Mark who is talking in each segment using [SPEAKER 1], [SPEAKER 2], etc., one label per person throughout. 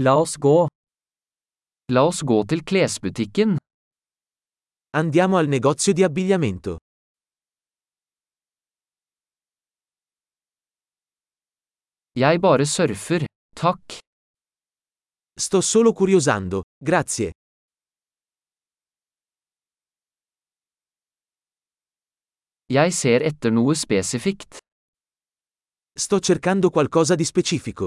[SPEAKER 1] La oss gå. La oss gå til klesbutikken.
[SPEAKER 2] Andiamo al negozio di abbigliamento.
[SPEAKER 1] Jeg bare surfer. Takk.
[SPEAKER 2] Sto solo curiosando, grazie.
[SPEAKER 1] Jeg ser etter noe spesifikt.
[SPEAKER 2] Sto cercando qualcosa di specifico.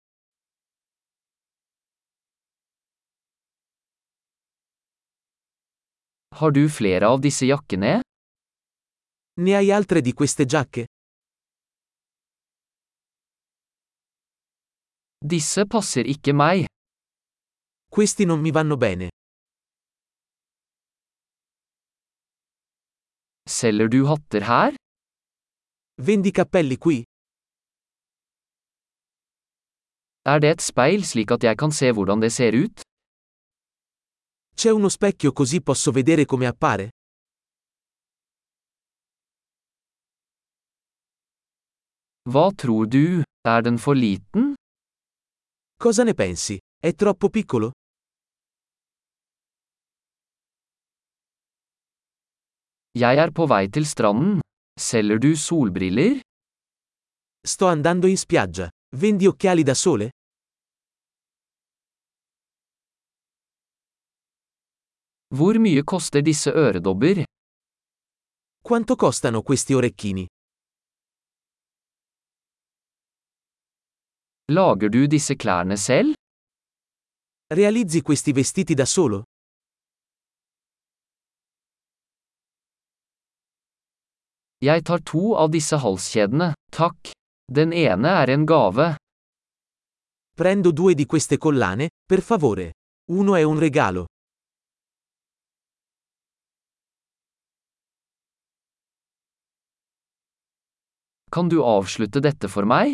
[SPEAKER 1] Har du flere av disse jakkene?
[SPEAKER 2] Ne hai altre di queste giacche?
[SPEAKER 1] Disse passer ikke meg.
[SPEAKER 2] Questi non mi vanno bene.
[SPEAKER 1] Selger du hatter her?
[SPEAKER 2] Vendi cappelli qui?
[SPEAKER 1] Er det et speil slik at jeg kan se hvordan det ser ut?
[SPEAKER 2] C'è uno specchio così posso vedere come appare?
[SPEAKER 1] Hva tror du? Er den for liten?
[SPEAKER 2] Cosa ne pensi? È troppo piccolo?
[SPEAKER 1] Jeg er på vei til stranden. Selger du solbriller?
[SPEAKER 2] Sto andando in spiaggia. Vendi occhiali da sole?
[SPEAKER 1] Hvor mye koster disse øredobber?
[SPEAKER 2] Quanto costano questi orecchini?
[SPEAKER 1] Lager du disse klærne selv?
[SPEAKER 2] Realizzi questi vestiti da solo?
[SPEAKER 1] Jeg tar to av disse halskjedene, takk. Den ene er en gave.
[SPEAKER 2] Prendo due di queste collane, per favore. Uno è un regalo.
[SPEAKER 1] Kan du avslutte dette for meg?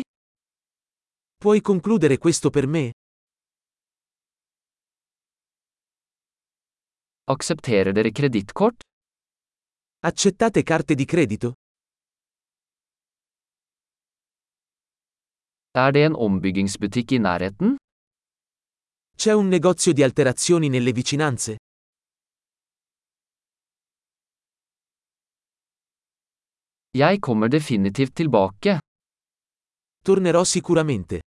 [SPEAKER 2] Puoi concludere questo per me?
[SPEAKER 1] Aksepterer dere kredittkort?
[SPEAKER 2] Accettate carte di credito?
[SPEAKER 1] Er det en ombyggingsbutikk i nærheten?
[SPEAKER 2] C'è un negozio di alterazioni nelle vicinanze?
[SPEAKER 1] Jeg kommer definitivt tilbake.
[SPEAKER 2] Tornerò sicuramente.